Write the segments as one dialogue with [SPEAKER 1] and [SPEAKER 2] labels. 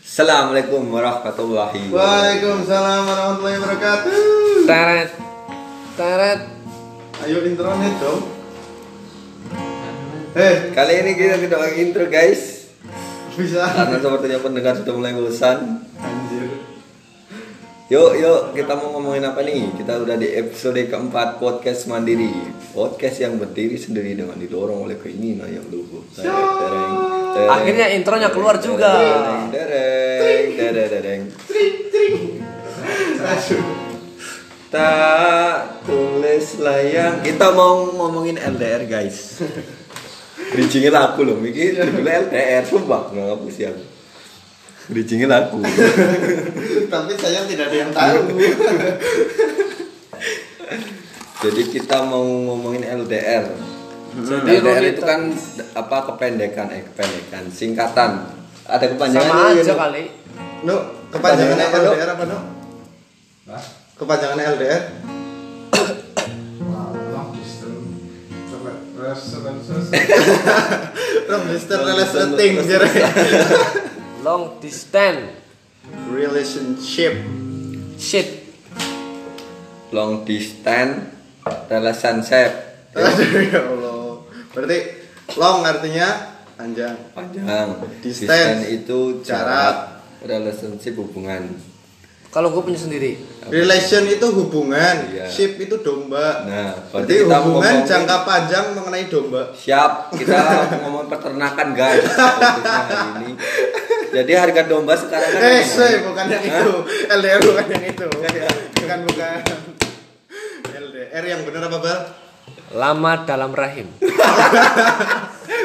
[SPEAKER 1] Assalamualaikum warahmatullahi wabarakatuh.
[SPEAKER 2] Waalaikumsalam warahmatullahi wabarakatuh.
[SPEAKER 3] Tarat. Tarat.
[SPEAKER 1] Hmm.
[SPEAKER 2] Ayo intronya dong. Eh,
[SPEAKER 1] Kali ini kita tidak pakai intro guys
[SPEAKER 2] bisa.
[SPEAKER 1] Karena sepertinya pendengar sudah mulai bosan
[SPEAKER 2] Anjir.
[SPEAKER 1] Yuk, yuk, kita mau ngomongin apa nih? Kita udah di episode keempat podcast mandiri Podcast yang berdiri sendiri dengan didorong oleh keinginan yang lugu Tereng, tereng, tereng,
[SPEAKER 3] Akhirnya intronya keluar
[SPEAKER 1] tereng,
[SPEAKER 3] juga.
[SPEAKER 1] Tereng, tereng, tereng
[SPEAKER 2] Tring tring. Asyik.
[SPEAKER 1] Tak tulis layang Kita mau ngomongin LDR guys Bridgingnya laku loh, Miki judulnya LDR Sumpah, nggak ngapus ya Bridgingnya laku
[SPEAKER 2] Tapi saya tidak ada yang tahu.
[SPEAKER 1] Jadi kita mau ngomongin LDR
[SPEAKER 3] Jadi lu
[SPEAKER 1] LDR itu
[SPEAKER 3] minta-
[SPEAKER 1] kan apa kependekan, eh kependekan, singkatan Ada kepanjangan
[SPEAKER 3] Sama aja kali.
[SPEAKER 2] No, kepanjangan
[SPEAKER 1] Kepanjangan apa, Nuk?
[SPEAKER 2] LDR apa no? Kepanjangan LDR? From Mr. Relationing
[SPEAKER 3] Long distance
[SPEAKER 2] Relationship
[SPEAKER 3] shit.
[SPEAKER 1] Long distance, relationship
[SPEAKER 2] Aduh ya Allah Berarti long artinya panjang
[SPEAKER 1] Panjang
[SPEAKER 2] Distance.
[SPEAKER 1] Distance itu
[SPEAKER 2] Jarak.
[SPEAKER 1] jarak Relationship hubungan
[SPEAKER 3] Kalau gue punya sendiri.
[SPEAKER 2] Relation itu hubungan,
[SPEAKER 1] Iya.
[SPEAKER 2] ship itu domba.
[SPEAKER 1] Nah, berarti
[SPEAKER 2] Berarti
[SPEAKER 1] kita
[SPEAKER 2] hubungan
[SPEAKER 1] ngomongin-
[SPEAKER 2] jangka panjang mengenai domba.
[SPEAKER 1] Siap, kita ngomong peternakan guys Topiknya hari ini. Jadi harga domba sekarang kan
[SPEAKER 2] Eh,
[SPEAKER 1] ngomongin-
[SPEAKER 2] say, bukan yang
[SPEAKER 1] Hah?
[SPEAKER 2] itu. Iya, LDR bukan yang itu. Bukan bukan. LDR yang benar apa, Bal?
[SPEAKER 3] Lama dalam rahim.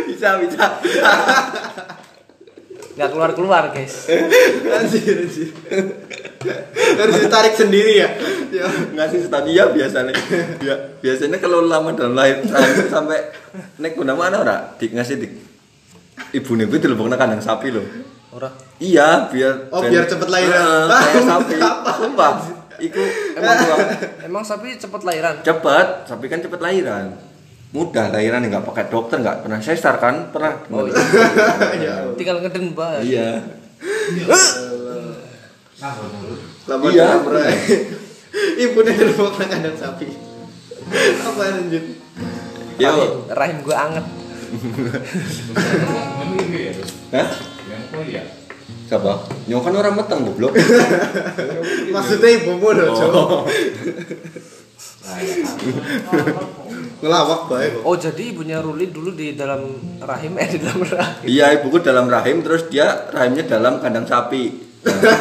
[SPEAKER 1] Bisa, bisa
[SPEAKER 3] Nggak keluar keluar guys.
[SPEAKER 2] Anjir, anjir. Harus ditarik sendiri ya. Ya.
[SPEAKER 1] ngasih stadia biasanya Bia- biasanya kalau lama dalam lahir terakhir sampai nek guna mana ora dik ngasih dik ibu nih gue dilebokna kandang sapi loh
[SPEAKER 3] Ora.
[SPEAKER 1] iya biar
[SPEAKER 2] Oh, biar cepet
[SPEAKER 1] Eh,
[SPEAKER 2] lahiran.
[SPEAKER 1] kayak
[SPEAKER 2] Ah,
[SPEAKER 1] sapi sumpah iku emang gua
[SPEAKER 3] Emang sapi cepet lahiran.
[SPEAKER 1] cepet sapi kan cepet lahiran mudah lahiran nggak pakai dokter nggak pernah sesar kan pernah
[SPEAKER 3] Oh, iya.
[SPEAKER 2] Ya. Allah.
[SPEAKER 3] Tinggal ngeden bae.
[SPEAKER 1] iya
[SPEAKER 2] Lama
[SPEAKER 1] Iya.
[SPEAKER 2] dalam rai. Ibu nih dulu kandang sapi. Apa lanjut?
[SPEAKER 1] yuk
[SPEAKER 3] Rahim- Rahim gue anget.
[SPEAKER 1] Hah? Siapa? Nyo kan orang meteng goblok.
[SPEAKER 2] Maksudnya ibumu loh, cowok. Ngelawak bae kok.
[SPEAKER 3] Oh jadi ibunya Ruli dulu di dalam rahim eh di dalam rahim.
[SPEAKER 1] Iya, ibuku dalam rahim terus dia rahimnya dalam kandang sapi. Iya,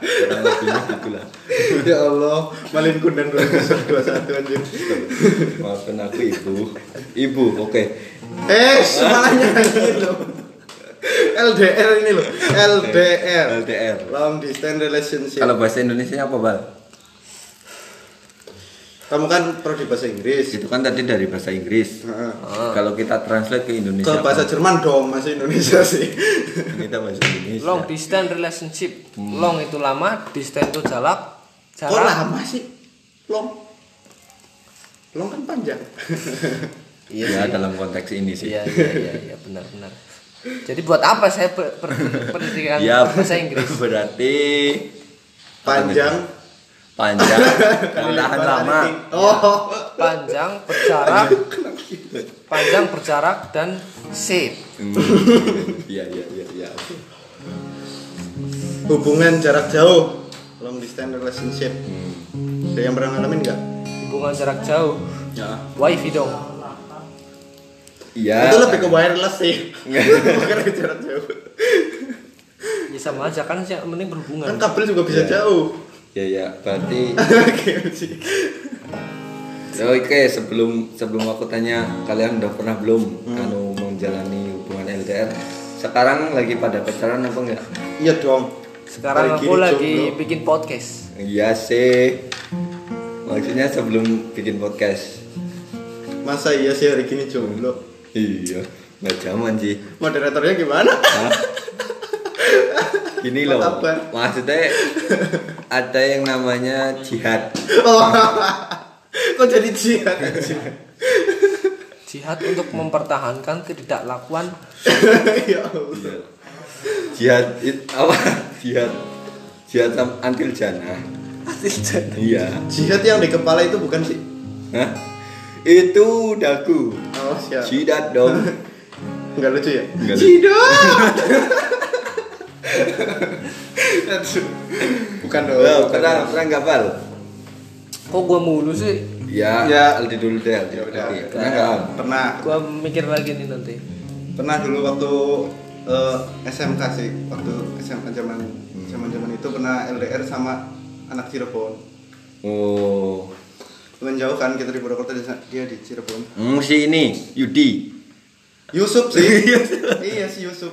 [SPEAKER 1] Kurang lebihnya Nah, gitulah.
[SPEAKER 2] ya Allah, malin kundan 2021 anjir.
[SPEAKER 1] Maafkan aku ibu. Ibu, oke.
[SPEAKER 2] Eh, semalahnya gitu loh. LDR ini loh, LDR.
[SPEAKER 1] LDR.
[SPEAKER 2] Long distance relationship.
[SPEAKER 1] Kalau bahasa Indonesia apa, Bal?
[SPEAKER 2] Kamu kan pro di bahasa Inggris.
[SPEAKER 1] Itu kan tadi dari bahasa Inggris.
[SPEAKER 2] Heeh.
[SPEAKER 1] Kalau kita translate ke Indonesia.
[SPEAKER 2] Ke bahasa Jerman dong, masih Indonesia sih.
[SPEAKER 1] apa? kita bahasa Indonesia.
[SPEAKER 3] Long distance relationship.
[SPEAKER 1] Hmm.
[SPEAKER 3] Long itu lama, distance itu jarak.
[SPEAKER 2] Kok
[SPEAKER 3] Jarak.
[SPEAKER 2] lama sih? Long. Long kan panjang.
[SPEAKER 1] Iya, dalam konteks ini sih.
[SPEAKER 3] Iya iya iya iya benar benar. Jadi buat apa saya ber- ber- pendidikan
[SPEAKER 1] Iya,
[SPEAKER 3] bahasa Inggris?
[SPEAKER 1] Berarti
[SPEAKER 2] Panjang.
[SPEAKER 1] panjang dan tahan lama.
[SPEAKER 2] Oh.
[SPEAKER 3] Panjang berjarak, panjang berjarak dan safe.
[SPEAKER 1] Hmm, Iya, iya, iya, iya. oke.
[SPEAKER 2] Hubungan jarak jauh. Long distance relationship.
[SPEAKER 1] Hmm.
[SPEAKER 2] Ada yang pernah ngalamin nggak?
[SPEAKER 3] Hubungan jarak jauh.
[SPEAKER 2] Ya.
[SPEAKER 3] Wifi dong.
[SPEAKER 1] Iya.
[SPEAKER 2] Itu lebih ke wireless sih. Bukan ke jarak jauh.
[SPEAKER 3] Ya sama aja kan sih yang penting
[SPEAKER 2] Kan
[SPEAKER 3] berhubungan.
[SPEAKER 2] kabel juga bisa
[SPEAKER 1] Iya.
[SPEAKER 2] jauh.
[SPEAKER 1] Ya ya, berarti
[SPEAKER 2] Oke, sih.
[SPEAKER 1] Ya, oke sebelum sebelum aku tanya kalian udah pernah belum
[SPEAKER 2] Hmm.
[SPEAKER 1] kalau menjalani hubungan LDR? Sekarang lagi pada pacaran apa enggak?
[SPEAKER 2] Iya dong.
[SPEAKER 3] Sekarang
[SPEAKER 2] Lagi
[SPEAKER 3] aku
[SPEAKER 2] jomblo.
[SPEAKER 3] lagi bikin podcast.
[SPEAKER 1] Iya sih. Maksudnya sebelum bikin podcast.
[SPEAKER 2] Masa iya sih hari gini jomblo?
[SPEAKER 1] Iya, nggak zaman sih.
[SPEAKER 2] Moderatornya gimana?
[SPEAKER 1] Hah? Gini loh.
[SPEAKER 2] Apa kabar?
[SPEAKER 1] Maksudnya ada yang namanya jihad.
[SPEAKER 2] Oh. Kok jadi jihad anjing?
[SPEAKER 3] Jihad untuk mempertahankan ketidaklakuan
[SPEAKER 2] ya Allah.
[SPEAKER 1] jihad it, apa jihad jihad sam- antil jana iya
[SPEAKER 2] Jihad yang di kepala itu bukan sih.
[SPEAKER 1] Hah? itu daku
[SPEAKER 2] Oh siap.
[SPEAKER 1] jidat dong
[SPEAKER 2] Enggak lucu ya?
[SPEAKER 1] Nggak lucu.
[SPEAKER 2] Jidat. Aduh. bukan dong.
[SPEAKER 1] Lo
[SPEAKER 2] bukan.
[SPEAKER 1] pernah pernah nggak pal
[SPEAKER 3] Kok gua mulu sih?
[SPEAKER 1] ya
[SPEAKER 2] Ya.
[SPEAKER 1] ya Aldi dulu deh Aldi
[SPEAKER 2] Ya udah.
[SPEAKER 1] Aldi. pernah nggak Al?
[SPEAKER 2] Pernah.
[SPEAKER 3] Gua mikir lagi nih nanti.
[SPEAKER 2] Pernah dulu waktu eh, SMK sih, waktu SMK zaman zaman zaman itu pernah LDR sama anak Cirebon.
[SPEAKER 1] oh
[SPEAKER 2] Temen jauh kan kita di Purwokerto dia, dia di Cirebon.
[SPEAKER 1] hmm, si ini Yudi
[SPEAKER 2] Yusuf sih. iya si Yusuf.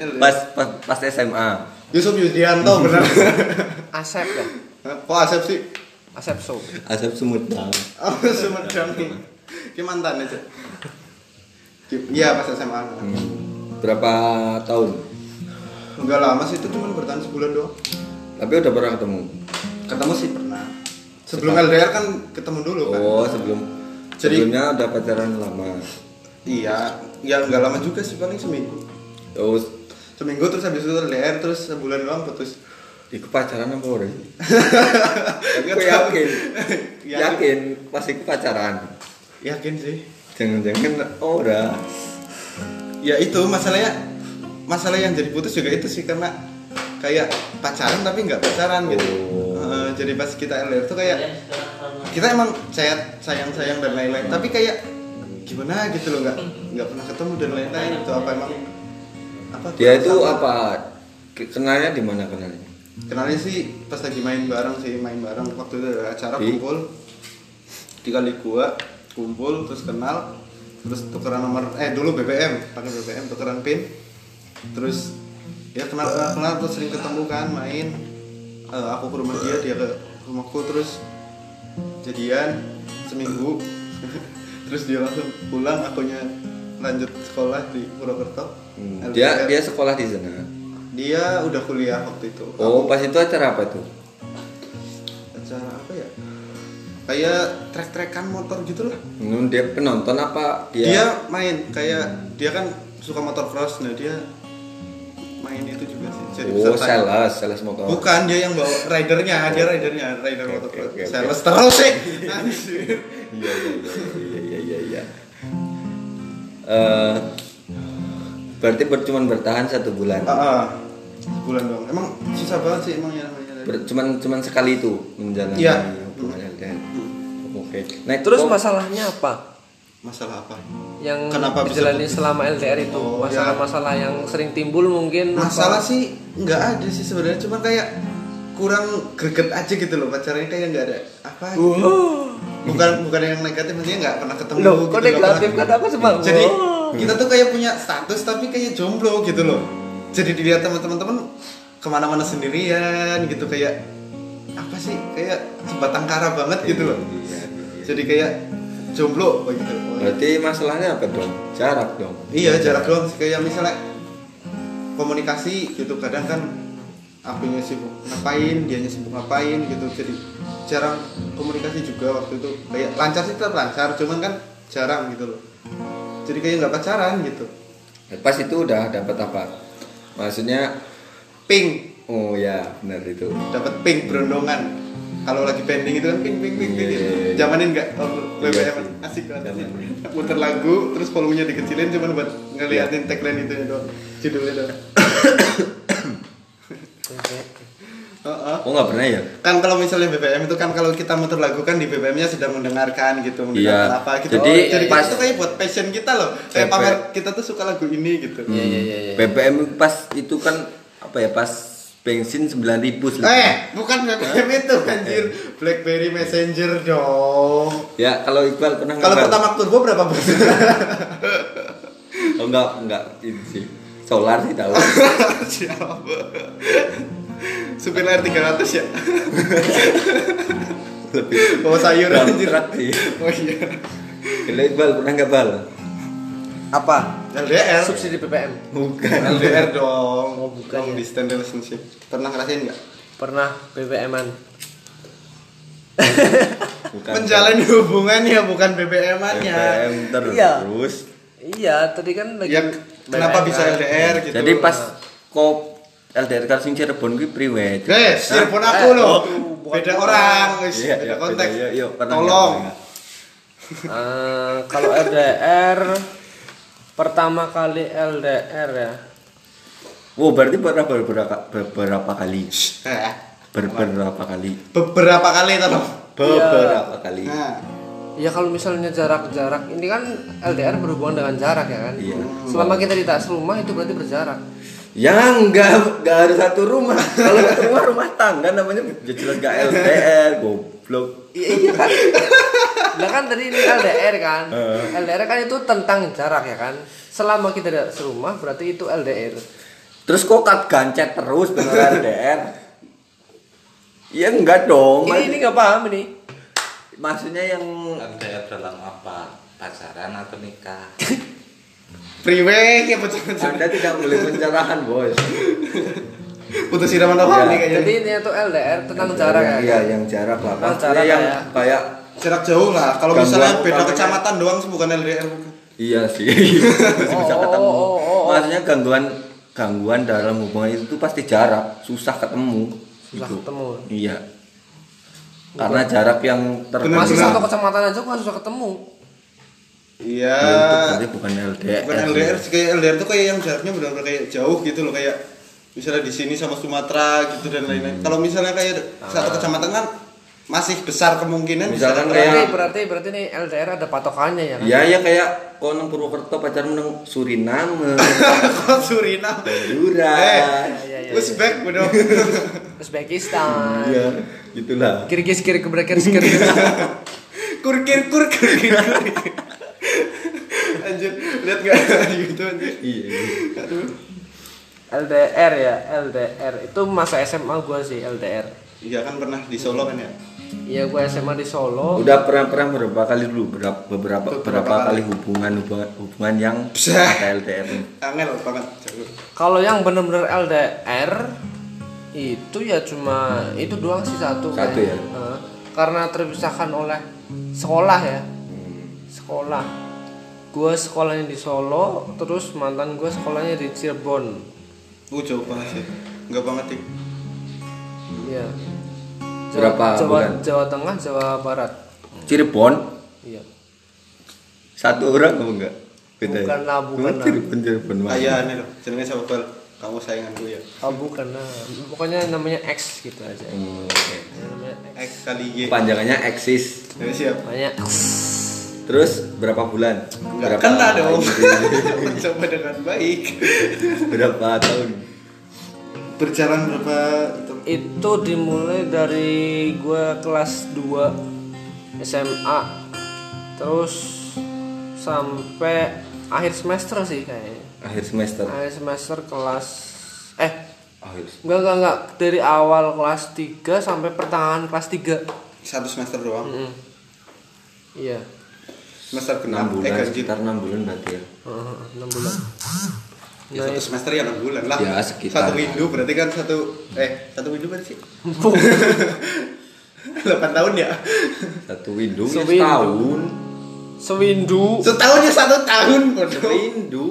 [SPEAKER 2] LDR.
[SPEAKER 1] pas pas, pas SMA
[SPEAKER 2] Yusuf Yudianto benar.
[SPEAKER 3] Asep ya.
[SPEAKER 2] Eh, Kok Asep sih?
[SPEAKER 3] Asep so.
[SPEAKER 1] asap Sumedang
[SPEAKER 2] Oh, Sumedang nih. Ki mantan aja. Ki- Iya pas SMA.
[SPEAKER 1] Hmm. berapa tahun
[SPEAKER 2] Enggak lama sih itu cuma bertahan sebulan doang.
[SPEAKER 1] tapi udah pernah ketemu
[SPEAKER 2] Ketemu sih pernah. Sebelum LDR kan ketemu dulu kan.
[SPEAKER 1] oh sebelum
[SPEAKER 2] Jadi-
[SPEAKER 1] sebelumnya udah pacaran lama
[SPEAKER 2] Iya, ya enggak lama juga sih paling seminggu.
[SPEAKER 1] terus
[SPEAKER 2] Seminggu terus habis itu LDR terus sebulan doang putus.
[SPEAKER 1] Iku pacaran apa ora? sih? Tapi
[SPEAKER 2] Nggak
[SPEAKER 1] aku
[SPEAKER 2] tahu.
[SPEAKER 1] yakin.
[SPEAKER 2] Yakin.
[SPEAKER 1] yakin pas iku pacaran.
[SPEAKER 2] Yakin sih.
[SPEAKER 1] Jangan-jangan
[SPEAKER 2] Oh,
[SPEAKER 1] ora.
[SPEAKER 2] Ya itu masalahnya masalah yang jadi putus juga itu sih karena kayak pacaran tapi nggak pacaran gitu.
[SPEAKER 1] Oh.
[SPEAKER 2] Eh, jadi pas kita LDR tuh kayak kita emang sayang sayang sayang dan lain-lain tapi kayak gimana gitu loh nggak nggak pernah ketemu dan lain-lain itu apa emang apa
[SPEAKER 1] Dia Ya, itu
[SPEAKER 2] sama-
[SPEAKER 1] apa? Ke- Kenalnya di mana kenalnya?
[SPEAKER 2] kenalnya sih pas lagi main bareng sih main bareng waktu itu ada acara
[SPEAKER 1] Di?
[SPEAKER 2] kumpul di kali gua kumpul terus kenal terus tukeran nomor eh dulu BBM pakai BBM tukeran pin terus ya kenal kenal, kenal, terus sering ketemu kan main Eh, aku ke rumah dia dia ke rumahku terus jadian seminggu terus dia langsung pulang akunya lanjut sekolah di Purwokerto
[SPEAKER 1] Hmm,
[SPEAKER 2] LDR.
[SPEAKER 1] Dia dia sekolah di sana.
[SPEAKER 2] Dia udah kuliah waktu itu
[SPEAKER 1] Oh, pas itu acara apa tuh?
[SPEAKER 2] acara apa ya kayak trek-trekan motor gitu lah
[SPEAKER 1] Hmm, Dia penonton apa? Dia,
[SPEAKER 2] dia main kayak dia kan suka motor cross nah dia main itu juga sih jadi
[SPEAKER 1] Oh,
[SPEAKER 2] peserta.
[SPEAKER 1] sales, sales motor.
[SPEAKER 2] bukan dia yang bawa ridernya dia ridernya rider
[SPEAKER 1] Oke,
[SPEAKER 2] motor
[SPEAKER 1] oke,
[SPEAKER 2] cross
[SPEAKER 1] oke, oke.
[SPEAKER 2] sales terus sih Anjir.
[SPEAKER 1] Iya, iya, iya, iya, iya, iya. Eh, berarti ber- cuman bertahan satu bulan.
[SPEAKER 2] Ah, ah. sebulan doang emang susah banget sih emang ya namanya rider.
[SPEAKER 1] Ber- cuman cuman sekali itu menjalani
[SPEAKER 2] Iya. Hmm.
[SPEAKER 1] hubungan LDR. Oke. Nah,
[SPEAKER 3] Terus
[SPEAKER 1] kok-
[SPEAKER 3] masalahnya apa?
[SPEAKER 2] masalah apa
[SPEAKER 3] Yang
[SPEAKER 2] Kenapa bisa
[SPEAKER 3] dijalani
[SPEAKER 2] putus?
[SPEAKER 3] selama LDR itu
[SPEAKER 2] Oh, ya.
[SPEAKER 3] masalah-masalah yang sering timbul mungkin apa?
[SPEAKER 2] masalah sih nggak ada sih sebenarnya cuma kayak kurang greget aja gitu loh pacarnya kayak nggak ada apa gitu.
[SPEAKER 3] Wow.
[SPEAKER 2] bukan bukan yang negatif maksudnya nggak pernah ketemu
[SPEAKER 3] Uh. Loh, kok
[SPEAKER 2] nggak
[SPEAKER 3] negatif?
[SPEAKER 2] pernah-
[SPEAKER 3] Kan aku semangat.
[SPEAKER 2] jadi
[SPEAKER 3] Wow.
[SPEAKER 2] kita tuh kayak punya status tapi kayak jomblo gitu loh jadi dilihat teman-teman kemana-mana sendirian gitu kayak apa sih kayak sebatang kara banget gitu loh
[SPEAKER 1] Iya, iya.
[SPEAKER 2] jadi kayak jomblo begitu Oh, iya.
[SPEAKER 1] Berarti masalahnya apa dong? Jarak dong.
[SPEAKER 2] Iya jarak doang sih kayak misalnya komunikasi gitu kadang kan akunya sibuk ngapain, dianya sibuk ngapain gitu jadi jarang komunikasi juga waktu itu kayak lancar sih tetap lancar cuman kan jarang gitu loh jadi kayak nggak pacaran gitu
[SPEAKER 1] Pas itu udah dapat apa? Maksudnya
[SPEAKER 2] ping
[SPEAKER 1] oh ya, benar itu.
[SPEAKER 2] dapat ping berondongan kalau lagi pending itu kan ping ping ping ping
[SPEAKER 1] Iya, iya, iya.
[SPEAKER 2] jamanin nggak
[SPEAKER 1] Iya
[SPEAKER 2] oh, BBM
[SPEAKER 1] sih.
[SPEAKER 2] asik banget sih
[SPEAKER 1] Jamanin.
[SPEAKER 2] muter lagu terus volumenya dikecilin cuman buat
[SPEAKER 1] Iya.
[SPEAKER 2] ngeliatin tagline itu doang judulnya doang
[SPEAKER 3] Oke.
[SPEAKER 2] Heeh.
[SPEAKER 1] Oh nggak pernah ya?
[SPEAKER 2] kan kalau misalnya BBM itu kan kalau kita muter lagu kan di BBM-nya sedang mendengarkan gitu
[SPEAKER 1] Iya.
[SPEAKER 2] mendengarkan apa gitu
[SPEAKER 1] Jadi,
[SPEAKER 2] Oh, jadi
[SPEAKER 1] pas-
[SPEAKER 2] itu kayak buat passion kita loh kayak
[SPEAKER 1] Bebe-
[SPEAKER 2] pamer kita tuh suka lagu ini gitu
[SPEAKER 3] Iya iya iya iya.
[SPEAKER 1] BBM pas itu kan apa ya? Pas bensin 9000 selama.
[SPEAKER 2] eh bukan BBM itu anjir BlackBerry Messenger dong
[SPEAKER 1] Ya, kalau Iqbal pernah nggak,
[SPEAKER 2] kalau
[SPEAKER 1] Bal?
[SPEAKER 2] pertama turbo berapa bos
[SPEAKER 1] oh, enggak enggak itu sih. Solar sih tahu.
[SPEAKER 2] Oh. siapa supir air 300 ya
[SPEAKER 1] Lebih
[SPEAKER 2] bawa sayur
[SPEAKER 1] drum
[SPEAKER 2] anjir
[SPEAKER 1] truck sih.
[SPEAKER 2] oh iya
[SPEAKER 1] Kalau Iqbal pernah nggak bal?
[SPEAKER 3] Apa?
[SPEAKER 2] LDR
[SPEAKER 3] Subsidi BBM.
[SPEAKER 1] Bukan.
[SPEAKER 2] LDR dong
[SPEAKER 3] Oh, bukan
[SPEAKER 2] long
[SPEAKER 3] ya.
[SPEAKER 2] distance relationship pernah ngerasain nggak
[SPEAKER 3] Pernah BBM-an.
[SPEAKER 1] Bukan.
[SPEAKER 2] menjalani hubungannya bukan BBM-annya.
[SPEAKER 1] BBM terus.
[SPEAKER 3] Iya. Iya, tadi kan lagi
[SPEAKER 2] Ya, kenapa
[SPEAKER 3] BBM
[SPEAKER 2] bisa
[SPEAKER 3] kan.
[SPEAKER 2] LDR gitu?
[SPEAKER 1] Jadi pas kau LDR karo sing Cirebon kuwi priwe?
[SPEAKER 2] Guys,
[SPEAKER 1] Hah?
[SPEAKER 2] telepon aku
[SPEAKER 1] Eh,
[SPEAKER 2] loh.
[SPEAKER 1] oh.
[SPEAKER 2] Beda orang, wis,
[SPEAKER 1] Iya,
[SPEAKER 2] beda
[SPEAKER 1] iya,
[SPEAKER 2] konteks.
[SPEAKER 1] beda, iya, iya, pernah
[SPEAKER 2] Tolong.
[SPEAKER 1] nggak,
[SPEAKER 3] Eh, kalau LDR pertama kali LDR ya
[SPEAKER 1] Wow, Oh, berarti pernah beberapa beberapa kali.
[SPEAKER 2] Eh,
[SPEAKER 1] Beberapa kali.
[SPEAKER 2] Beberapa kali tolong.
[SPEAKER 1] Beberapa kali.
[SPEAKER 2] Nah,
[SPEAKER 3] ya kalau misalnya jarak-jarak ini kan LDR berhubungan dengan jarak ya kan
[SPEAKER 1] Iya.
[SPEAKER 3] selama kita tidak serumah itu berarti berjarak
[SPEAKER 1] Ya enggak, enggak harus satu rumah. Kalau satu rumah rumah tangga namanya ya jelas enggak LDR, goblok.
[SPEAKER 3] iya kan lah kan tadi ini LDR kan LDR kan itu tentang jarak ya kan selama kita tidak serumah berarti itu LDR
[SPEAKER 1] Terus kok kat gancet terus bener LDR? Ya enggak dong.
[SPEAKER 3] ini
[SPEAKER 1] Mas.
[SPEAKER 3] ini nggak paham ini
[SPEAKER 1] Maksudnya yang
[SPEAKER 4] LDR dalam apa? Pacaran atau nikah?
[SPEAKER 2] priwe ya putus-putus.
[SPEAKER 1] Anda tidak boleh pencerahan, Bos.
[SPEAKER 2] Putus siraman
[SPEAKER 1] Iya.
[SPEAKER 2] apa nih kayaknya?
[SPEAKER 3] jadi ini itu LDR tentang jarak ya
[SPEAKER 1] Iya,
[SPEAKER 3] kan?
[SPEAKER 1] yang jarak lah.
[SPEAKER 3] Tentang
[SPEAKER 1] Maksudnya
[SPEAKER 3] jarak
[SPEAKER 1] yang
[SPEAKER 3] kayak-
[SPEAKER 1] kayak
[SPEAKER 2] Jarak jauh lah. Kalau
[SPEAKER 1] Gangguan
[SPEAKER 2] misalnya beda
[SPEAKER 1] utamanya.
[SPEAKER 2] kecamatan doang sih bukan LDR. bukan.
[SPEAKER 1] Iya sih. Masih bisa
[SPEAKER 3] Oh, oh,
[SPEAKER 1] ketemu.
[SPEAKER 3] oh, oh, oh.
[SPEAKER 1] Maksudnya gangguan gangguan dalam hubungan itu pasti jarak, susah ketemu.
[SPEAKER 3] susah
[SPEAKER 1] Gitu.
[SPEAKER 3] ketemu
[SPEAKER 1] Iya. Karena jarak yang terbatas.
[SPEAKER 3] masih
[SPEAKER 2] Benar.
[SPEAKER 3] satu kecamatan aja kok susah ketemu
[SPEAKER 2] Iya.
[SPEAKER 1] Ya, itu berarti bukan LDR.
[SPEAKER 2] Bukan LDR, sih, kayak LDR tuh kayak yang jaraknya benar-benar kayak jauh gitu loh kayak misalnya di sini sama Sumatera gitu dan lain-lain.
[SPEAKER 1] Hmm.
[SPEAKER 2] Kalau misalnya kayak satu kecamatan kan masih besar kemungkinan
[SPEAKER 1] Ah.
[SPEAKER 2] bisa
[SPEAKER 1] Misalkan
[SPEAKER 2] ketemu.
[SPEAKER 1] kayak-
[SPEAKER 3] berarti berarti berarti nih LDR ada patokannya ya kan
[SPEAKER 1] Iya, ya kayak kau nang Purwokerto pacaran nang Suriname,
[SPEAKER 2] Kok Suriname.
[SPEAKER 1] Madura.
[SPEAKER 2] Eh,
[SPEAKER 3] iya, iya.
[SPEAKER 2] Uzbek bodoh.
[SPEAKER 3] Uzbekistan
[SPEAKER 1] Iya, gitulah.
[SPEAKER 3] Kirgis kiri kebrekir kiri
[SPEAKER 2] kurkir kur kurkir kurkir. Anjir, lihat enggak gitu anjir.
[SPEAKER 1] Iya.
[SPEAKER 2] Aduh.
[SPEAKER 3] LDR ya LDR itu masa SMA gua sih LDR
[SPEAKER 2] Iya kan pernah di Solo kan ya?
[SPEAKER 3] Iya gua SMA di Solo
[SPEAKER 1] Udah pernah-pernah beberapa kali dulu, berapa beberapa
[SPEAKER 2] Beberapa
[SPEAKER 1] beberapa kali hubungan hubungan, hubungan yang
[SPEAKER 2] Bisa.
[SPEAKER 1] ada LDR.
[SPEAKER 2] Angel banget. Jauh.
[SPEAKER 3] Kalau yang bener-bener LDR itu ya cuma itu doang sih satu.
[SPEAKER 1] Satu
[SPEAKER 3] kayaknya.
[SPEAKER 1] ya?
[SPEAKER 3] Heeh. karena terpisahkan oleh sekolah ya.
[SPEAKER 1] Hmm.
[SPEAKER 3] Sekolah. Gue sekolahnya di Solo, terus mantan gue sekolahnya di Cirebon.
[SPEAKER 2] Uh, jauh banget sih. Enggak banget sih.
[SPEAKER 3] Iya.
[SPEAKER 1] Hmm. Berapa
[SPEAKER 3] Jawa,
[SPEAKER 1] bulan?
[SPEAKER 3] Jawa Tengah, Jawa Barat.
[SPEAKER 1] Cirebon
[SPEAKER 3] Iya.
[SPEAKER 1] satu orang apa enggak? Beda. ya?
[SPEAKER 3] Bukan lah, bukan
[SPEAKER 1] Cuma
[SPEAKER 3] lah.
[SPEAKER 1] Cirebon Cirebon. Mas.
[SPEAKER 2] Ayah nih loh, jenenge siapa bal? Kamu sayanganku ya.
[SPEAKER 3] Oh, bukan lah. Pokoknya namanya X gitu aja.
[SPEAKER 1] Hmm, oke.
[SPEAKER 3] Namanya X.
[SPEAKER 2] X kali Y.
[SPEAKER 1] Panjangannya eksis.
[SPEAKER 2] Jadi siap.
[SPEAKER 3] Namanya X.
[SPEAKER 1] Terus berapa bulan?
[SPEAKER 2] Enggak
[SPEAKER 1] Berapa-
[SPEAKER 2] kena dong. Coba dengan baik.
[SPEAKER 1] berapa tahun?
[SPEAKER 2] Berjalan berapa itu?
[SPEAKER 3] itu dimulai dari gua kelas 2 SMA terus sampai akhir semester sih kayaknya
[SPEAKER 1] Akhir semester. Oh, iya.
[SPEAKER 3] akhir semester kelas eh
[SPEAKER 1] Akhir
[SPEAKER 3] enggak enggak enggak dari awal kelas 3 sampai pertengahan kelas 3
[SPEAKER 2] Satu semester doang.
[SPEAKER 3] Mm. iya
[SPEAKER 2] Semester
[SPEAKER 1] enam
[SPEAKER 2] genap. Eh,
[SPEAKER 1] bulan
[SPEAKER 2] ganjil.
[SPEAKER 1] sekitar enam bulan berarti ya
[SPEAKER 3] Heeh, enam bulan Nah,
[SPEAKER 2] Ya,
[SPEAKER 1] Iya,
[SPEAKER 2] satu semester ya enam bulan lah.
[SPEAKER 1] Ya, sekitar.
[SPEAKER 2] Satu window berarti kan satu eh satu window berarti sih. Delapan tahun ya.
[SPEAKER 1] satu windu ya
[SPEAKER 3] Sewindu.
[SPEAKER 1] setahun
[SPEAKER 3] sewindu
[SPEAKER 2] Setahun ya satu tahun bodoh.
[SPEAKER 1] sewindu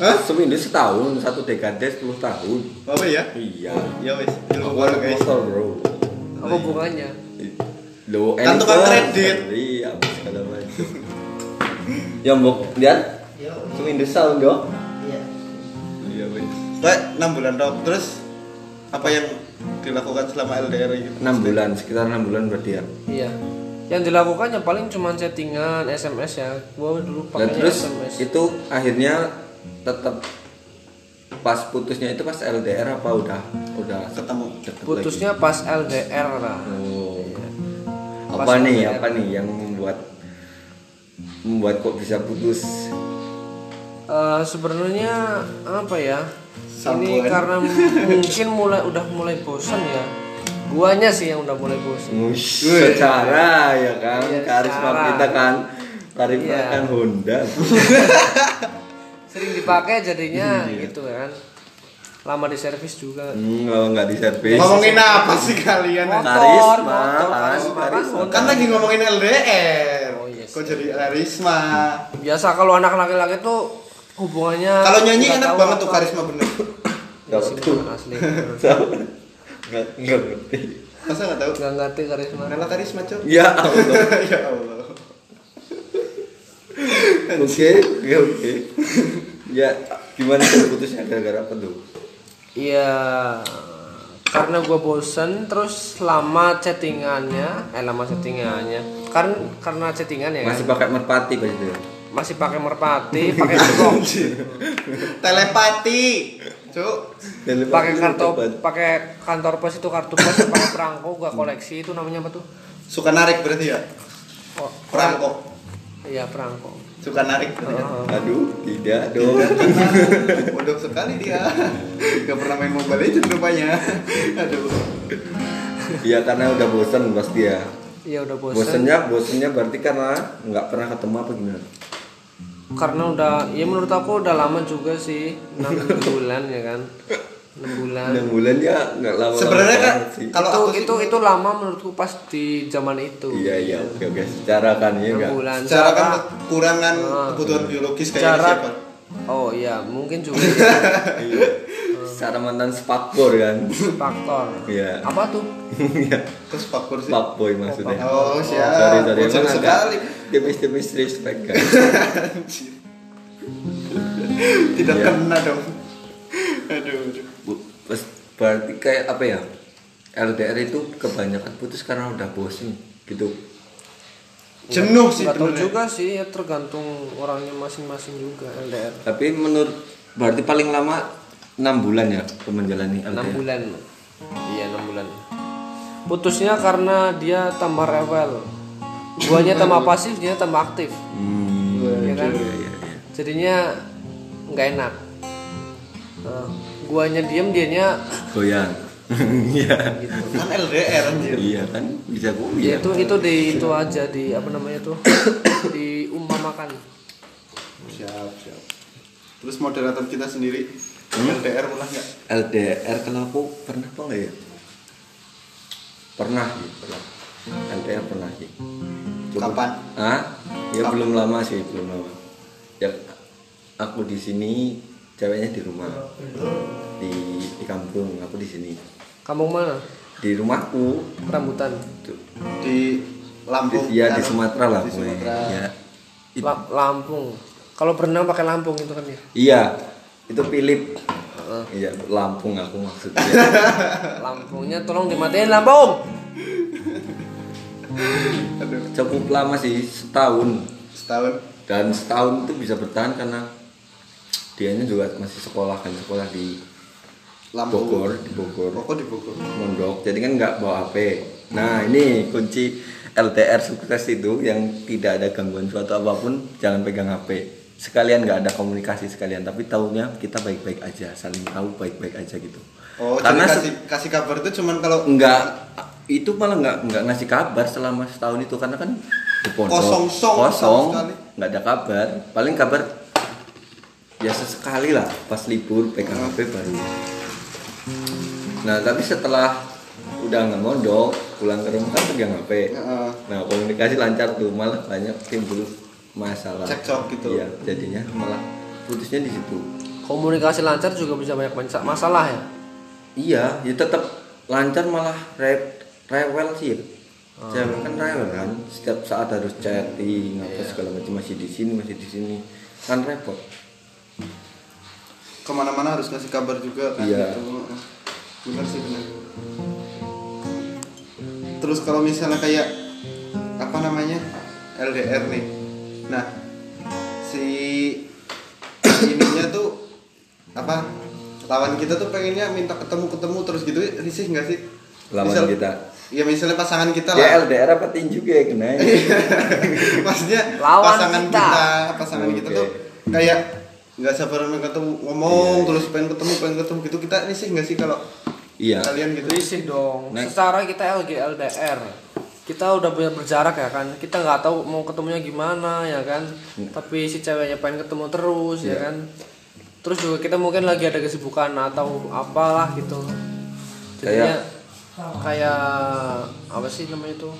[SPEAKER 2] Hah?
[SPEAKER 1] sewindu setahun satu dekade sepuluh tahun
[SPEAKER 2] Apa ya?
[SPEAKER 1] iya
[SPEAKER 2] Ya wes, ilmu
[SPEAKER 1] aku
[SPEAKER 2] baru
[SPEAKER 1] anak
[SPEAKER 2] guys.
[SPEAKER 1] motor bro
[SPEAKER 3] apa hubungannya
[SPEAKER 1] lo eh,
[SPEAKER 2] Kan tukang kredit.
[SPEAKER 1] iya apa segala macam ya mbok lihat sewindu setahun dong iya wes
[SPEAKER 2] Pak, enam bulan dong. Terus apa yang dilakukan selama LDR gitu?
[SPEAKER 1] enam bulan sekitar enam bulan berarti ya
[SPEAKER 3] iya yang dilakukannya paling cuma settingan SMS ya gua dulu
[SPEAKER 1] Nah,
[SPEAKER 3] pakainya
[SPEAKER 1] terus
[SPEAKER 3] SMS
[SPEAKER 1] itu akhirnya tetap pas putusnya itu pas LDR apa udah udah
[SPEAKER 2] Ketemu.
[SPEAKER 1] deket lagi?
[SPEAKER 3] putusnya pas LDR lah
[SPEAKER 1] Oh.
[SPEAKER 3] Pas
[SPEAKER 1] Apa nih,
[SPEAKER 3] LDR.
[SPEAKER 1] apa nih yang membuat membuat kok bisa putus?
[SPEAKER 3] Eh, sebenarnya apa ya ini
[SPEAKER 2] Sambungan.
[SPEAKER 3] karena m- mungkin mulai udah mulai bosan ya guanya sih yang udah mulai bosan
[SPEAKER 1] Wush, secara ya kan,
[SPEAKER 3] Iya,
[SPEAKER 1] karisma
[SPEAKER 3] secara.
[SPEAKER 1] kita kan, karisma
[SPEAKER 3] Iya.
[SPEAKER 1] kan Honda.
[SPEAKER 3] sering dipakai jadinya
[SPEAKER 2] Hmm, iya.
[SPEAKER 3] gitu kan lama di servis juga
[SPEAKER 1] Hmm, kalau nggak di servis.
[SPEAKER 2] Ngomongin apa sih kalian?
[SPEAKER 3] Motor,
[SPEAKER 1] karisma,
[SPEAKER 3] motor,
[SPEAKER 1] kan,
[SPEAKER 3] karisma,
[SPEAKER 1] karisma.
[SPEAKER 3] kan.
[SPEAKER 2] Kan lagi ngomongin LDR.
[SPEAKER 3] Oh, yes.
[SPEAKER 2] Kok jadi karisma?
[SPEAKER 3] biasa kalau anak laki-laki tuh hubungannya
[SPEAKER 2] Kalau nyanyi
[SPEAKER 3] nggak
[SPEAKER 2] enak
[SPEAKER 3] tahu
[SPEAKER 2] banget tuh
[SPEAKER 3] apa.
[SPEAKER 2] karisma bener.
[SPEAKER 1] Siapa tuh?
[SPEAKER 3] Seniman asli
[SPEAKER 1] Siapa? Nggak nggak ngerti.
[SPEAKER 2] masa nggak tahu
[SPEAKER 3] nggak ngerti karisma
[SPEAKER 2] Nela Karisma cok
[SPEAKER 1] Ya Allah.
[SPEAKER 2] ya Allah
[SPEAKER 1] Oke, oke, oke. Ya, gimana tuh putusnya gara-gara apa tuh?
[SPEAKER 3] Iya karena gue bosen terus lama chattingannya eh lama chattingannya karena karena chattingan ya kan?
[SPEAKER 1] Masih pakai merpati pas itu. ya?
[SPEAKER 3] masih pakai merpati pakai blok
[SPEAKER 2] telepati cok
[SPEAKER 1] Telepati
[SPEAKER 3] pakai kartu
[SPEAKER 1] telepati.
[SPEAKER 3] pakai kantor pos itu kartu pos pakai perangko gua koleksi itu namanya apa tuh
[SPEAKER 2] suka narik berarti ya
[SPEAKER 3] oh,
[SPEAKER 2] perangkok
[SPEAKER 3] iya perangko
[SPEAKER 2] suka narik berarti ya
[SPEAKER 3] Heeh.
[SPEAKER 1] Aduh, tidak dong.
[SPEAKER 2] bodoh sekali dia gak pernah main mobile legend rupanya aduh
[SPEAKER 1] Iya karena udah bosan pasti ya.
[SPEAKER 3] iya udah
[SPEAKER 2] ya?
[SPEAKER 3] bosen
[SPEAKER 1] Bosannya, bosannya berarti karena nggak pernah ketemu apa gimana?
[SPEAKER 3] karena udah ya menurut aku udah lama juga sih 6 bulan ya kan 6 bulan
[SPEAKER 1] Enam bulan ya nggak lama.
[SPEAKER 2] Sebenarnya kan
[SPEAKER 1] sih.
[SPEAKER 2] kalau
[SPEAKER 3] itu
[SPEAKER 2] aku sih-
[SPEAKER 3] itu itu lama menurutku pas di zaman itu
[SPEAKER 1] Iya iya oke oke. Secara kan ya
[SPEAKER 3] 6
[SPEAKER 1] nggak.
[SPEAKER 3] bulan
[SPEAKER 2] secara kan kekurangan
[SPEAKER 3] Ah.
[SPEAKER 2] kebutuhan biologis kayak
[SPEAKER 3] jarak
[SPEAKER 2] siapa
[SPEAKER 3] oh iya mungkin juga ya,
[SPEAKER 1] Iya. Secara mantan spakbor kan.
[SPEAKER 3] faktor
[SPEAKER 1] Iya.
[SPEAKER 3] apa tuh
[SPEAKER 1] Iya.
[SPEAKER 2] terus pakur sih
[SPEAKER 1] Fuckboy maksudnya.
[SPEAKER 2] Oh, siap.
[SPEAKER 1] Sorry sorry emang
[SPEAKER 2] Bocor
[SPEAKER 1] agak
[SPEAKER 2] sekali.
[SPEAKER 1] tipis-tipis respect kan.
[SPEAKER 2] tidak
[SPEAKER 1] Iya.
[SPEAKER 2] kena dong aduh aduh.
[SPEAKER 1] Bu, pes- berarti kayak apa ya? LDR itu kebanyakan putus karena udah bosen gitu.
[SPEAKER 2] jenuh sih
[SPEAKER 3] nggak tahu
[SPEAKER 2] benernya
[SPEAKER 3] juga sih ya tergantung orangnya masing-masing juga LDR
[SPEAKER 1] Tapi menurut berarti paling lama 6 bulan ya menjalani LDR.
[SPEAKER 3] 6 bulan iya 6 bulan putusnya karena dia tambah rewel guanya tambah pasif dia tambah aktif
[SPEAKER 1] Hmm,
[SPEAKER 3] ya kan
[SPEAKER 1] iya, iya, iya.
[SPEAKER 3] jadinya nggak enak Nah, guanya diem dianya
[SPEAKER 1] Goyang. Iya.
[SPEAKER 2] kan LDR anjir
[SPEAKER 1] Iya kan bisa
[SPEAKER 3] ya
[SPEAKER 1] goyang.
[SPEAKER 3] Gitu. itu itu di itu aja di apa namanya tuh diumpamakan
[SPEAKER 2] siap siap terus moderator kita sendiri
[SPEAKER 1] Hmm?
[SPEAKER 2] LDR pernah nggak
[SPEAKER 1] LDR kalau aku pernah apa enggak ya? Pernah sih, pernah. LDR pernah sih.
[SPEAKER 2] Kapan?
[SPEAKER 1] Ah? Ya
[SPEAKER 2] Kapan?
[SPEAKER 1] belum lama sih, belum lama. Ya aku di sini, ceweknya di rumah. Di di kampung, aku di sini.
[SPEAKER 3] kampung mana
[SPEAKER 1] Di rumahku.
[SPEAKER 3] rambutan
[SPEAKER 1] Tuh.
[SPEAKER 2] di Lampung
[SPEAKER 1] Di- ya di
[SPEAKER 2] kan?
[SPEAKER 1] Sumatera lah
[SPEAKER 2] di
[SPEAKER 1] gue.
[SPEAKER 2] Sumatera
[SPEAKER 1] Ya. It-
[SPEAKER 3] La- Lampung kalau berenang pakai Lampung itu kan ya
[SPEAKER 1] iya. Itu Philip.
[SPEAKER 2] Oh.
[SPEAKER 1] Iya, Lampung aku maksudnya.
[SPEAKER 3] Lampungnya tolong dimatiin Lampung
[SPEAKER 2] aduh
[SPEAKER 1] Cukup lama sih, setahun.
[SPEAKER 2] setahun
[SPEAKER 1] dan setahun itu bisa bertahan karena dianya juga masih sekolah kan sekolah di
[SPEAKER 2] Lampung
[SPEAKER 1] Bogor di Bogor
[SPEAKER 2] pokok di Bogor
[SPEAKER 1] mondok jadi kan nggak bawa HP nah ini kunci LTR sukses itu yang tidak ada gangguan suatu apapun jangan pegang HP sekalian nggak ada komunikasi sekalian tapi tahunya kita baik-baik aja saling tahu baik-baik aja gitu
[SPEAKER 2] oh
[SPEAKER 1] karena
[SPEAKER 2] jadi
[SPEAKER 1] se-
[SPEAKER 2] kasih kasih kabar tuh cuman kalau
[SPEAKER 1] nggak itu malah nggak nggak ngasih kabar selama setahun itu karena kan di pondok
[SPEAKER 2] Kosong song,
[SPEAKER 1] kosong
[SPEAKER 2] sama sekali.
[SPEAKER 1] nggak ada kabar paling kabar biasa sekali lah pas libur pegang
[SPEAKER 2] Hmm.
[SPEAKER 1] hp baru nah tapi setelah udah nggak mondok pulang ke rumah kan pegang hp
[SPEAKER 2] Heeh.
[SPEAKER 1] nah komunikasi lancar tuh malah banyak timbul masalah
[SPEAKER 2] Cekcok gitu.
[SPEAKER 1] iya jadinya malah putusnya di situ
[SPEAKER 3] komunikasi lancar juga bisa banyak menca- masalah ya
[SPEAKER 1] Iya, ya tetap lancar malah re- rewel sih. Cewek kan rewel kan, setiap saat harus chatting apa segala macam masih di sini masih di sini kan repot.
[SPEAKER 2] kemana-mana harus ngasih kabar juga kan
[SPEAKER 1] Iya.
[SPEAKER 2] gitu. benar sih benar terus kalau misalnya kayak apa namanya LDR nih nah si ininya tuh apa lawan kita tuh pengennya minta ketemu ketemu terus gitu risih nggak sih
[SPEAKER 1] Lawan kita.
[SPEAKER 2] ya misalnya pasangan kita lah
[SPEAKER 1] Ya LDR apa tinju kayak kena.
[SPEAKER 2] maksudnya
[SPEAKER 3] Lawan
[SPEAKER 2] pasangan
[SPEAKER 3] kita.
[SPEAKER 2] kita, pasangan kita
[SPEAKER 1] Oke.
[SPEAKER 2] tuh kayak nggak sabar pengen ketemu ngomong
[SPEAKER 1] Iya,
[SPEAKER 2] terus pengen ketemu pengen ketemu gitu kita ini sih nggak sih kalau
[SPEAKER 1] Iya.
[SPEAKER 2] kalian gitu
[SPEAKER 3] Risih dong.
[SPEAKER 1] Next.
[SPEAKER 3] Secara kita LDR, kita udah punya berjarak ya kan. Kita nggak tahu mau ketemunya gimana ya kan. Tapi si ceweknya pengen ketemu terus ya kan. Terus juga kita mungkin lagi ada kesibukan atau apalah gitu. Jadinya kayak apa sih namanya itu?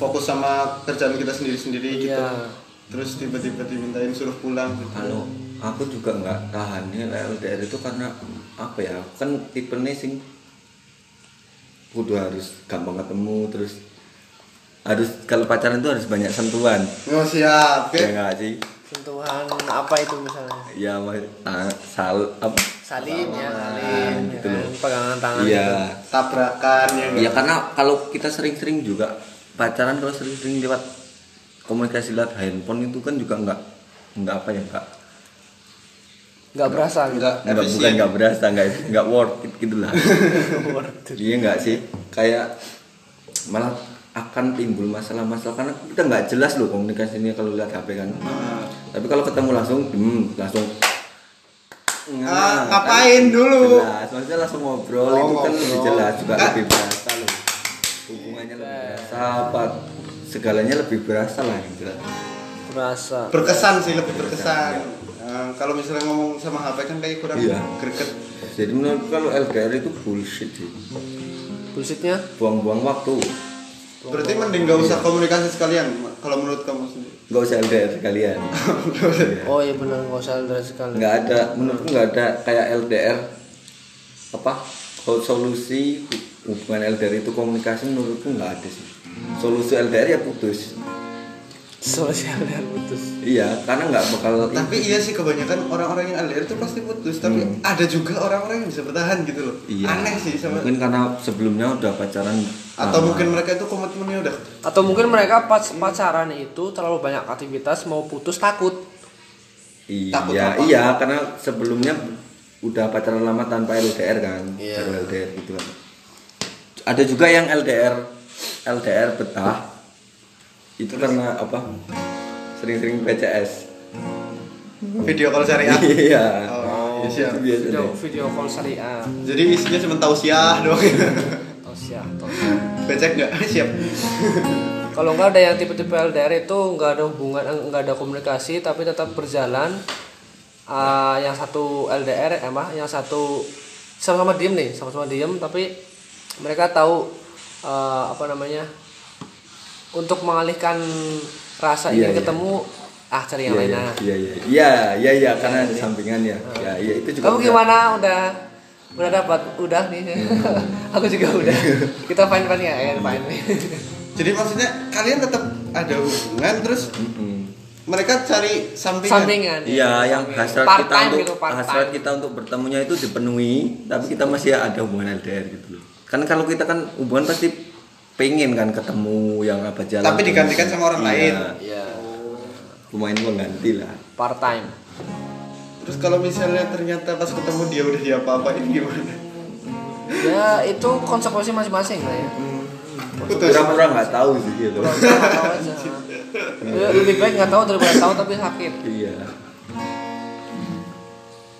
[SPEAKER 2] fokus sama kerjaan kita sendiri sendiri gitu
[SPEAKER 3] Iya.
[SPEAKER 2] terus tiba-tiba dimintain suruh pulang gitu.
[SPEAKER 1] Kalau aku juga nggak tahannya LDR itu karena apa ya aku kan tipe sing kudu harus gampang ketemu terus harus kalau pacaran itu harus banyak sentuhan
[SPEAKER 2] Oh siap,
[SPEAKER 1] ya
[SPEAKER 2] oke.
[SPEAKER 1] nggak sih
[SPEAKER 3] sentuhan apa itu misalnya
[SPEAKER 1] ya mas tang, sal apa
[SPEAKER 3] salin ya
[SPEAKER 1] Salaman,
[SPEAKER 3] salin
[SPEAKER 1] gitu
[SPEAKER 3] ya kan,
[SPEAKER 1] loh.
[SPEAKER 3] pegangan tangan gitu.
[SPEAKER 1] iya
[SPEAKER 2] Tabrakan ya.
[SPEAKER 1] Iya karena kalau kita sering-sering juga pacaran kalau sering-sering lewat komunikasi lewat handphone itu kan juga nggak nggak apa ya nggak
[SPEAKER 3] nggak berasa gitu
[SPEAKER 2] Enggak,
[SPEAKER 1] nggak bukan nggak berasa nggak nggak worth it gitu lah iya nggak sih kayak malah akan timbul masalah-masalah karena kita nggak jelas loh komunikasinya kalau lihat HP kan tapi kalau ketemu langsung hmm, langsung
[SPEAKER 2] Ah,
[SPEAKER 1] Nah,
[SPEAKER 2] ngapain
[SPEAKER 1] kan
[SPEAKER 2] dulu?
[SPEAKER 1] jelas maksudnya langsung ngobrol itu
[SPEAKER 2] Oh,
[SPEAKER 1] kan
[SPEAKER 2] ngobrol.
[SPEAKER 1] lebih jelas juga
[SPEAKER 2] Kan-
[SPEAKER 1] lebih berasa loh hubungannya lebih berasa apa segalanya lebih berasa lah yang jelas
[SPEAKER 3] berasa
[SPEAKER 2] Berkesan sih
[SPEAKER 1] Iya.
[SPEAKER 2] lebih berkesan. Eh, kalau misalnya ngomong sama HP kan kayak kurang
[SPEAKER 1] Iya.
[SPEAKER 2] greget.
[SPEAKER 1] jadi menurutku kalau LDR itu bullshit sih
[SPEAKER 3] bullshitnya
[SPEAKER 1] buang-buang waktu
[SPEAKER 2] Berarti mending gak usah komunikasi sekalian kalau menurut kamu sendiri.
[SPEAKER 1] nggak usah LDR sekalian Iya.
[SPEAKER 3] oh iya benar nggak usah LDR sekali
[SPEAKER 1] nggak ada menurutku nggak ada kayak LDR apa kalau solusi hu- hubungan LDR itu komunikasi menurutku nggak ada sih solusi LDR ya putus
[SPEAKER 3] solusi LDR putus
[SPEAKER 1] iya karena nggak bakal
[SPEAKER 2] Tapi iya sih kebanyakan orang-orang yang LDR tuh pasti putus, tapi ada juga orang-orang yang bisa bertahan gitu loh.
[SPEAKER 1] Hmm. iya
[SPEAKER 2] Aneh sih sama
[SPEAKER 1] mungkin karena sebelumnya udah pacaran
[SPEAKER 2] atau
[SPEAKER 1] lama.
[SPEAKER 2] mungkin mereka itu komitmennya udah
[SPEAKER 3] atau mungkin mereka pas pacaran itu terlalu banyak aktivitas mau putus takut
[SPEAKER 1] iya
[SPEAKER 2] takut apa?
[SPEAKER 1] iya karena sebelumnya udah pacaran lama tanpa LDR kan
[SPEAKER 3] Iya.
[SPEAKER 1] baru LDR gitu kan ada juga yang LDR LDR betah itu karena apa sering-sering PCS
[SPEAKER 2] video call syariah.
[SPEAKER 1] iya
[SPEAKER 2] Ya. Oh, iya, siap.
[SPEAKER 1] itu biasa
[SPEAKER 3] video
[SPEAKER 1] deh.
[SPEAKER 3] video call syariah Oh,
[SPEAKER 2] Jadi isinya cuma tausiah doang.
[SPEAKER 3] tausiah tausiah
[SPEAKER 2] Becek nggak? Siap.
[SPEAKER 3] Kalau nggak ada yang tipe-tipe LDR itu nggak ada hubungan, eh, nggak ada komunikasi tapi tetap berjalan. Ah, yang satu LDR emang, yang satu sama-sama diem nih, sama-sama diem tapi mereka tahu eh, apa namanya untuk mengalihkan rasa
[SPEAKER 1] Iya,
[SPEAKER 3] ingin
[SPEAKER 1] iya.
[SPEAKER 3] ketemu ah cari yang
[SPEAKER 1] Iya,
[SPEAKER 3] lain
[SPEAKER 1] iya,
[SPEAKER 3] ah.
[SPEAKER 1] iya iya iya iya iya karena ada sampingan ya ya iya itu juga
[SPEAKER 3] Kamu
[SPEAKER 1] udah-
[SPEAKER 3] gimana? Udah udah dapat udah nih.
[SPEAKER 1] Hmm.
[SPEAKER 3] Aku juga udah. Kita fine fine ya, ya fine.
[SPEAKER 2] Jadi maksudnya kalian tetap ada hubungan terus
[SPEAKER 1] Mm-mm.
[SPEAKER 2] mereka cari sampingan.
[SPEAKER 3] Sampingan. ya.
[SPEAKER 1] Iya, yang hasrat
[SPEAKER 3] Part
[SPEAKER 1] kita
[SPEAKER 3] time
[SPEAKER 1] untuk
[SPEAKER 3] gitu, part
[SPEAKER 1] hasrat
[SPEAKER 3] time.
[SPEAKER 1] kita untuk bertemunya itu dipenuhi, tapi kita masih ada hubungan LDR gitu loh. Kan kalau kita kan hubungan pasti pengen kan ketemu yang apa jalan.
[SPEAKER 2] Tapi digantikan sama orang lain.
[SPEAKER 3] Iya.
[SPEAKER 1] Pemain pengganti lah.
[SPEAKER 3] Part time.
[SPEAKER 2] Terus kalau misalnya ternyata pas ketemu dia udah diapa-apain gimana?
[SPEAKER 3] ya itu konsekuensi masing-masing lah ya
[SPEAKER 2] Putus.
[SPEAKER 1] Pura-pura nggak tahu sih gitu.
[SPEAKER 3] Nggak tahu aja. Ya, lebih baik nggak tahu daripada tahu tapi sakit
[SPEAKER 1] iya.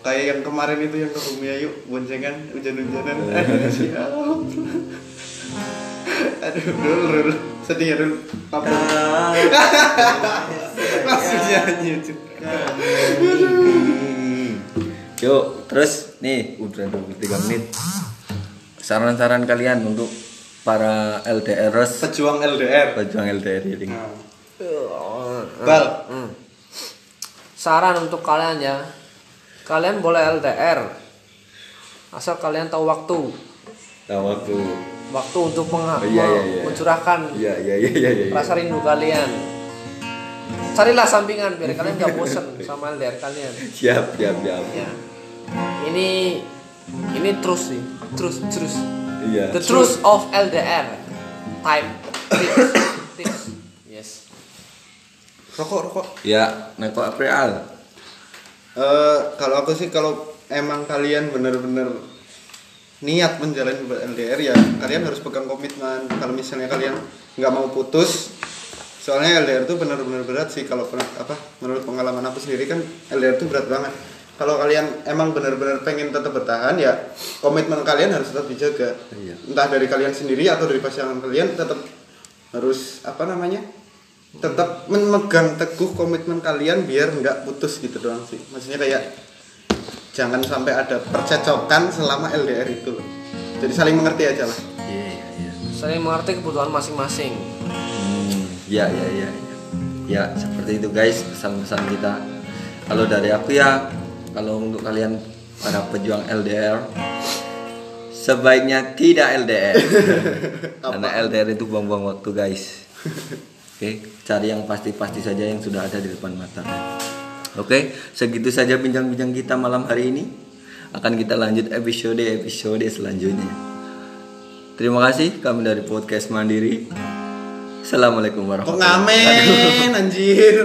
[SPEAKER 2] Kayak yang kemarin itu yang ke Bumi Ayu boncengan hujan-hujanan. Siap. Aduh, dul, dul. Sedih ya, dul. Apa?
[SPEAKER 1] Nah,
[SPEAKER 2] Langsung nyanyi. cuy.
[SPEAKER 1] Yuk, terus nih udah 23 menit. Saran-saran kalian untuk para LDRers
[SPEAKER 2] Pejuang LDR.
[SPEAKER 1] pejuang LDR ini.
[SPEAKER 2] Nah. Bal,
[SPEAKER 3] saran untuk kalian ya kalian boleh LDR asal kalian tahu waktu
[SPEAKER 1] Nah, waktu.
[SPEAKER 3] waktu untuk mengha-
[SPEAKER 1] Oh, iya, iya, iya.
[SPEAKER 3] mencurahkan
[SPEAKER 1] Iya, iya, iya, iya. iya.
[SPEAKER 3] rasa rindu kalian carilah sampingan biar kalian nggak bosen sama LDR kalian
[SPEAKER 1] siap siap siap
[SPEAKER 3] ya ini ini terus sih terus terus
[SPEAKER 1] iya
[SPEAKER 3] The truth of LDR Time Tips Tips Yes
[SPEAKER 2] rokok, rokok.
[SPEAKER 1] ya nek kok April
[SPEAKER 2] Eh, kalau aku sih kalau emang kalian bener-bener niat menjalani hubungan LDR ya kalian harus pegang komitmen kalau misalnya kalian nggak mau putus soalnya LDR tuh bener-bener berat sih kalau pernah- apa menurut pengalaman aku sendiri kan LDR tuh berat banget kalau kalian emang bener-bener pengen tetap bertahan ya komitmen kalian harus tetap dijaga
[SPEAKER 1] Iya.
[SPEAKER 2] entah dari kalian sendiri atau dari pasangan kalian tetap harus apa namanya tetap memegang teguh komitmen kalian biar nggak putus gitu doang sih maksudnya kayak jangan sampai ada percecokan selama LDR itu loh jadi saling mengerti aja lah
[SPEAKER 1] iya iya iya
[SPEAKER 3] Saling mengerti kebutuhan masing-masing
[SPEAKER 1] iya, Hmm, ya ya ya ya seperti itu guys pesan-pesan kita kalau dari aku ya kalau untuk kalian para pejuang LDR sebaiknya tidak LDR karena LDR itu buang-buang waktu guys oke cari yang pasti-pasti saja yang sudah ada di depan mata oke segitu saja bincang-bincang kita malam hari ini akan kita lanjut episode episode selanjutnya terima kasih kami dari podcast Mandiri Assalamualaikum
[SPEAKER 2] Kok
[SPEAKER 1] warahmatullahi wabarakatuh
[SPEAKER 2] ngamen anjir?